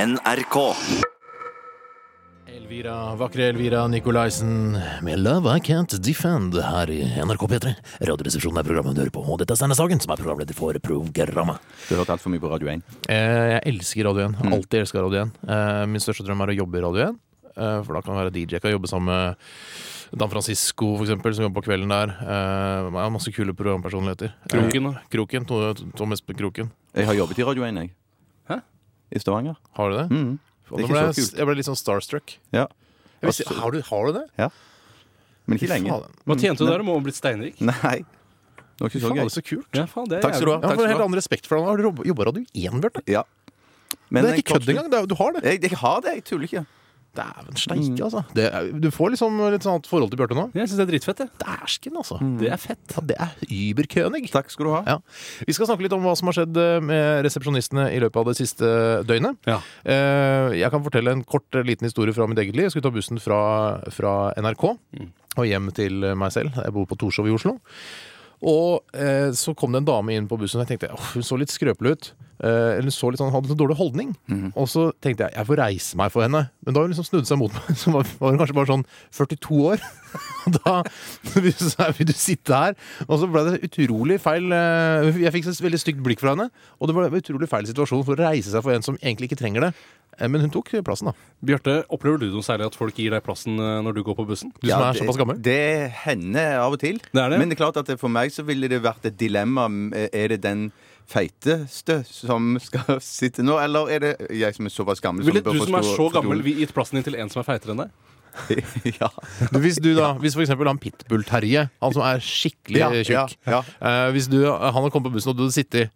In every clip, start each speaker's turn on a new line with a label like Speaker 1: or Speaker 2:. Speaker 1: NRK.
Speaker 2: Elvira, vakre Elvira Nikolaisen med Love I Can't Defend her i NRK P3. Radioresepsjonen er programmet du hører på, og dette er Steinar Sagen, som er programleder for programmet.
Speaker 3: Du har hørt altfor mye på Radio 1.
Speaker 2: Eh, jeg elsker Radio 1. Har Alltid elska Radio 1. Eh, min største drøm er å jobbe i Radio 1. Eh, for da kan jeg være DJ. Jeg kan jobbe sammen med Dan Francisco, for eksempel, som jobber på kvelden der. Eh, jeg har masse kule programpersonligheter.
Speaker 4: Kroken, da.
Speaker 2: Eh, Kroken. To- Tom Espen Kroken.
Speaker 3: Jeg har jobbet i Radio 1, jeg.
Speaker 4: Hæ?
Speaker 3: I Stavanger.
Speaker 2: Har du det?
Speaker 3: Mm.
Speaker 2: Og
Speaker 3: det
Speaker 2: nå
Speaker 3: er
Speaker 2: ble
Speaker 3: ikke så
Speaker 2: jeg,
Speaker 3: kult.
Speaker 2: jeg ble litt sånn starstruck.
Speaker 3: Ja. Altså,
Speaker 2: Jeg visste, har, du, har du det?
Speaker 3: Men ikke lenge.
Speaker 2: Faen,
Speaker 4: Hva tjente du der? Du må ha blitt steinrik.
Speaker 3: Nei. Det var ikke så
Speaker 2: faen, det
Speaker 3: gøy.
Speaker 2: er så kult.
Speaker 4: Ja, faen, det er
Speaker 3: Takk skal du ha.
Speaker 2: Jeg
Speaker 3: Takk
Speaker 2: får
Speaker 3: skal
Speaker 2: helt
Speaker 3: du ha.
Speaker 2: annen respekt for deg. Har du jobba Radio 1, Bjarte?
Speaker 3: Ja. Men
Speaker 2: Det er
Speaker 3: jeg-
Speaker 2: ikke kødd engang. det er- Du har det.
Speaker 3: Jeg, jeg har det, jeg tuller ikke.
Speaker 2: Dæven steike, altså. Det er, du får liksom litt sånn annet forhold til Bjarte nå.
Speaker 4: Ja, Jeg syns det er dritfett, jeg.
Speaker 2: Dæsken, altså.
Speaker 3: Mm.
Speaker 4: Det er fett.
Speaker 2: Ja, det er überkönig.
Speaker 3: Takk skal du ha.
Speaker 2: Ja. Vi skal snakke litt om hva som har skjedd eh, med resepsjonistene i løpet av det siste døgnet.
Speaker 4: Ja.
Speaker 2: Eh, Jeg kan fortelle en kort eh, liten historie fra mitt eget liv. Jeg skulle ta bussen fra, fra NRK
Speaker 3: Mm.
Speaker 2: og hjem til eh, meg selv. Jeg bor på Torshov i Oslo. Og eh, så kom det en dame inn på bussen, og jeg tenkte «Åh, hun så litt skrøpelig ut. Eh, eller så litt sånn, hadde en dårlig holdning.
Speaker 3: Mhm.
Speaker 2: Og så tenkte jeg jeg får reise meg for henne. Men da hun liksom snudde seg mot meg, så var, var hun kanskje bare sånn 42 år. Og da så sa jeg, vil du sitte her? Og så ble det utrolig feil eh, Jeg fikk et veldig stygt blikk fra henne. Og det ble en utrolig feil situasjon for å reise seg for en som egentlig ikke trenger det. Eh, Men hun tok plassen, da.
Speaker 4: Bjarte, opplever du noe særlig at folk gir deg plassen eh, når du går på bussen?
Speaker 2: Du som
Speaker 3: Ja,
Speaker 2: er såpass gammel.
Speaker 3: Det, det hender av og til.
Speaker 4: Det er det.
Speaker 3: Men det er klart at det, for meg så ville det vært et dilemma. Er det den feiteste som skal sitte nå, eller er det jeg som er såpass gammel
Speaker 4: Ville
Speaker 3: bør
Speaker 4: du som
Speaker 3: få
Speaker 4: er
Speaker 3: stå-
Speaker 4: så
Speaker 3: få
Speaker 4: gammel, vi- gitt plassen din til en som er feitere enn deg?
Speaker 3: stolen? ja.
Speaker 2: Du, Hvis du da, hvis for eksempel han Pitbull-Terje, han som er skikkelig
Speaker 3: Ja,
Speaker 2: tjukk
Speaker 3: ja,
Speaker 2: eh, Hvis du, han hadde kommet på bussen og du hadde sittet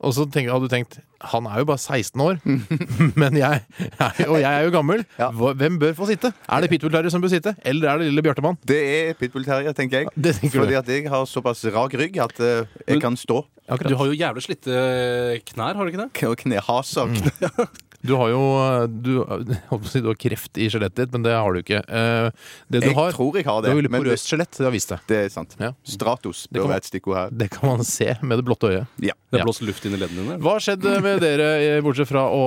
Speaker 2: og så tenk, hadde du tenkt han er jo bare 16 år, men jeg, og jeg er jo gammel.
Speaker 3: Ja.
Speaker 2: Hva- Hvem bør få sitte? Er det Pitbull-Terje som bør sitte, eller er det lille Bjartemann?
Speaker 3: Det er pitbull terrier, tenker jeg.
Speaker 2: Det tenker du.
Speaker 3: Fordi at jeg har såpass rak rygg at eh, jeg
Speaker 4: Men-
Speaker 3: kan stå.
Speaker 2: Akkurat.
Speaker 4: Du har jo jævlig slitte eh, knær, har du ikke det?
Speaker 3: Og
Speaker 2: Mm.
Speaker 3: knehaser.
Speaker 2: Du har jo eh, du, jeg holdt på å si, du har kreft i skjelettet ditt, men det har du ikke. Eh, Det du
Speaker 3: Jeg
Speaker 2: har,
Speaker 3: tror jeg har
Speaker 2: du
Speaker 3: det.
Speaker 2: har veldig
Speaker 3: men det,
Speaker 2: porøst skjelett. Det har vist det.
Speaker 3: det er sant.
Speaker 2: Ja.
Speaker 3: Stratos
Speaker 2: kan
Speaker 3: bør
Speaker 2: man-
Speaker 3: være et stikkord her.
Speaker 2: Det kan man se med det blotte øyet.
Speaker 3: Ja.
Speaker 4: Det
Speaker 2: Ja.
Speaker 4: er blåst luft inn i leddene dine.
Speaker 2: Hva har skjedd med dere, eh, bortsett fra å,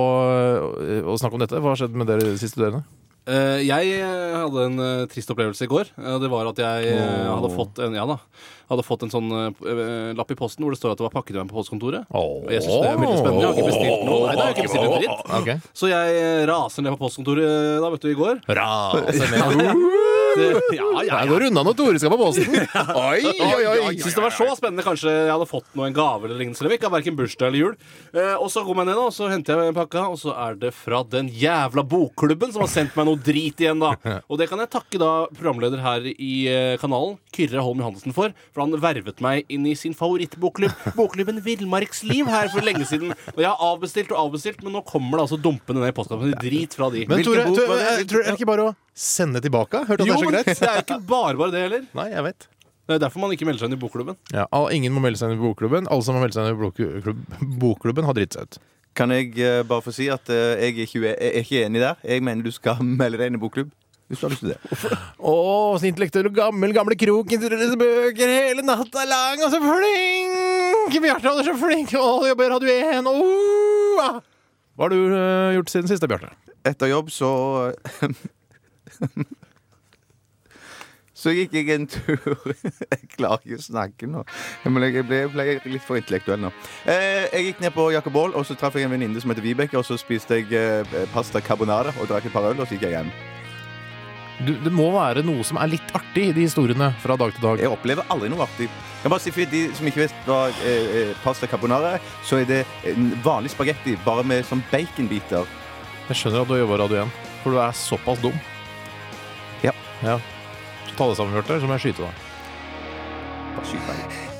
Speaker 2: å snakke om dette? Hva har skjedd med dere de siste dørene?
Speaker 4: Eh, jeg eh, hadde en eh, trist opplevelse i går. Eh, det var at jeg eh, hadde, fått en, ja, da, hadde fått en sånn eh, eh, lapp i posten hvor det står at det var pakket til meg på postkontoret. Og jeg synes det er veldig spennende. Jeg har ikke bestilt noe. Nei, da har jeg ikke bestilt noe dritt.
Speaker 2: Ok.
Speaker 4: Så jeg eh, raser ned på postkontoret eh, da, vet du, i går.
Speaker 2: Altså,
Speaker 4: Det,
Speaker 2: eh,
Speaker 4: ja, ja,
Speaker 2: Jeg
Speaker 4: ja.
Speaker 2: går unna når Tore skal på posten! Oi, oi, oi!
Speaker 4: Syns det var så spennende. Kanskje jeg hadde fått noe, en gave eller lignende. Eller ikke, Verken bursdag eller jul. Eh, og så kom jeg ned, da, og så henter jeg pakka, og så er det fra den jævla bokklubben som har sendt meg noe drit igjen, da. Og det kan jeg takke da programleder her i eh, kanalen, Kyrre Holm Johansen, for. For han vervet meg inn i sin favorittbokklubb, bokklubben Villmarksliv, her for lenge siden. Og jeg har avbestilt og avbestilt, men nå kommer det altså dumpende ned i postkassen. Drit fra de.
Speaker 2: Men
Speaker 3: Hvilken
Speaker 2: Tore,
Speaker 3: bok
Speaker 2: Tore,
Speaker 3: var det?
Speaker 2: jeg tror- er det ikke bare å sende tilbake? Hørte du at det
Speaker 4: jo,
Speaker 2: er så
Speaker 4: men det
Speaker 2: greit?
Speaker 4: er jo ikke bare bare det heller.
Speaker 2: Nei, jeg vet.
Speaker 4: Det er derfor man ikke melder seg inn i bokklubben.
Speaker 2: Ja, al- ingen må melde seg inn i bokklubben. Alle som har meldt seg inn i bokklubb- bokklubben, har dritt seg ut.
Speaker 3: Kan jeg eh, bare få si at eh, jeg er ikke, ue- jeg er ikke enig der. Jeg mener du skal melde deg inn i bokklubb. Hvis du har lyst til det.
Speaker 2: Å, så intellektuell og gammel, gamle kroken til deres bøker hele natta lang, og så flink! Bjarte, du er så flink! Å, du jobber i Radio 1, og ah! Hva har du eh, gjort siden siste, Bjarte?
Speaker 3: Etter jobb så Så gikk jeg en tur Jeg klarer ikke å snakke nå. Men jeg ble, jeg ble litt for intellektuell nå. Eh, jeg gikk ned på Jakob Aall, og så traff jeg en venninne som heter Vibeke. Og så spiste jeg eh, pasta carbonara og drakk et par øl, og så gikk jeg hjem.
Speaker 2: Du, det må være noe som er litt artig i de historiene fra dag til dag.
Speaker 3: Jeg opplever aldri noe artig. Jeg kan bare si for de som ikke vet hva eh, eh, pasta carbonara er, så er det en vanlig spagetti, bare med sånn baconbiter.
Speaker 2: Jeg skjønner at du har jobba i Radio 1, for du er såpass dum.
Speaker 3: Ja.
Speaker 2: ja. Så ta det sammen, Bjarte, så må jeg skyte deg.
Speaker 3: Bare skyt meg.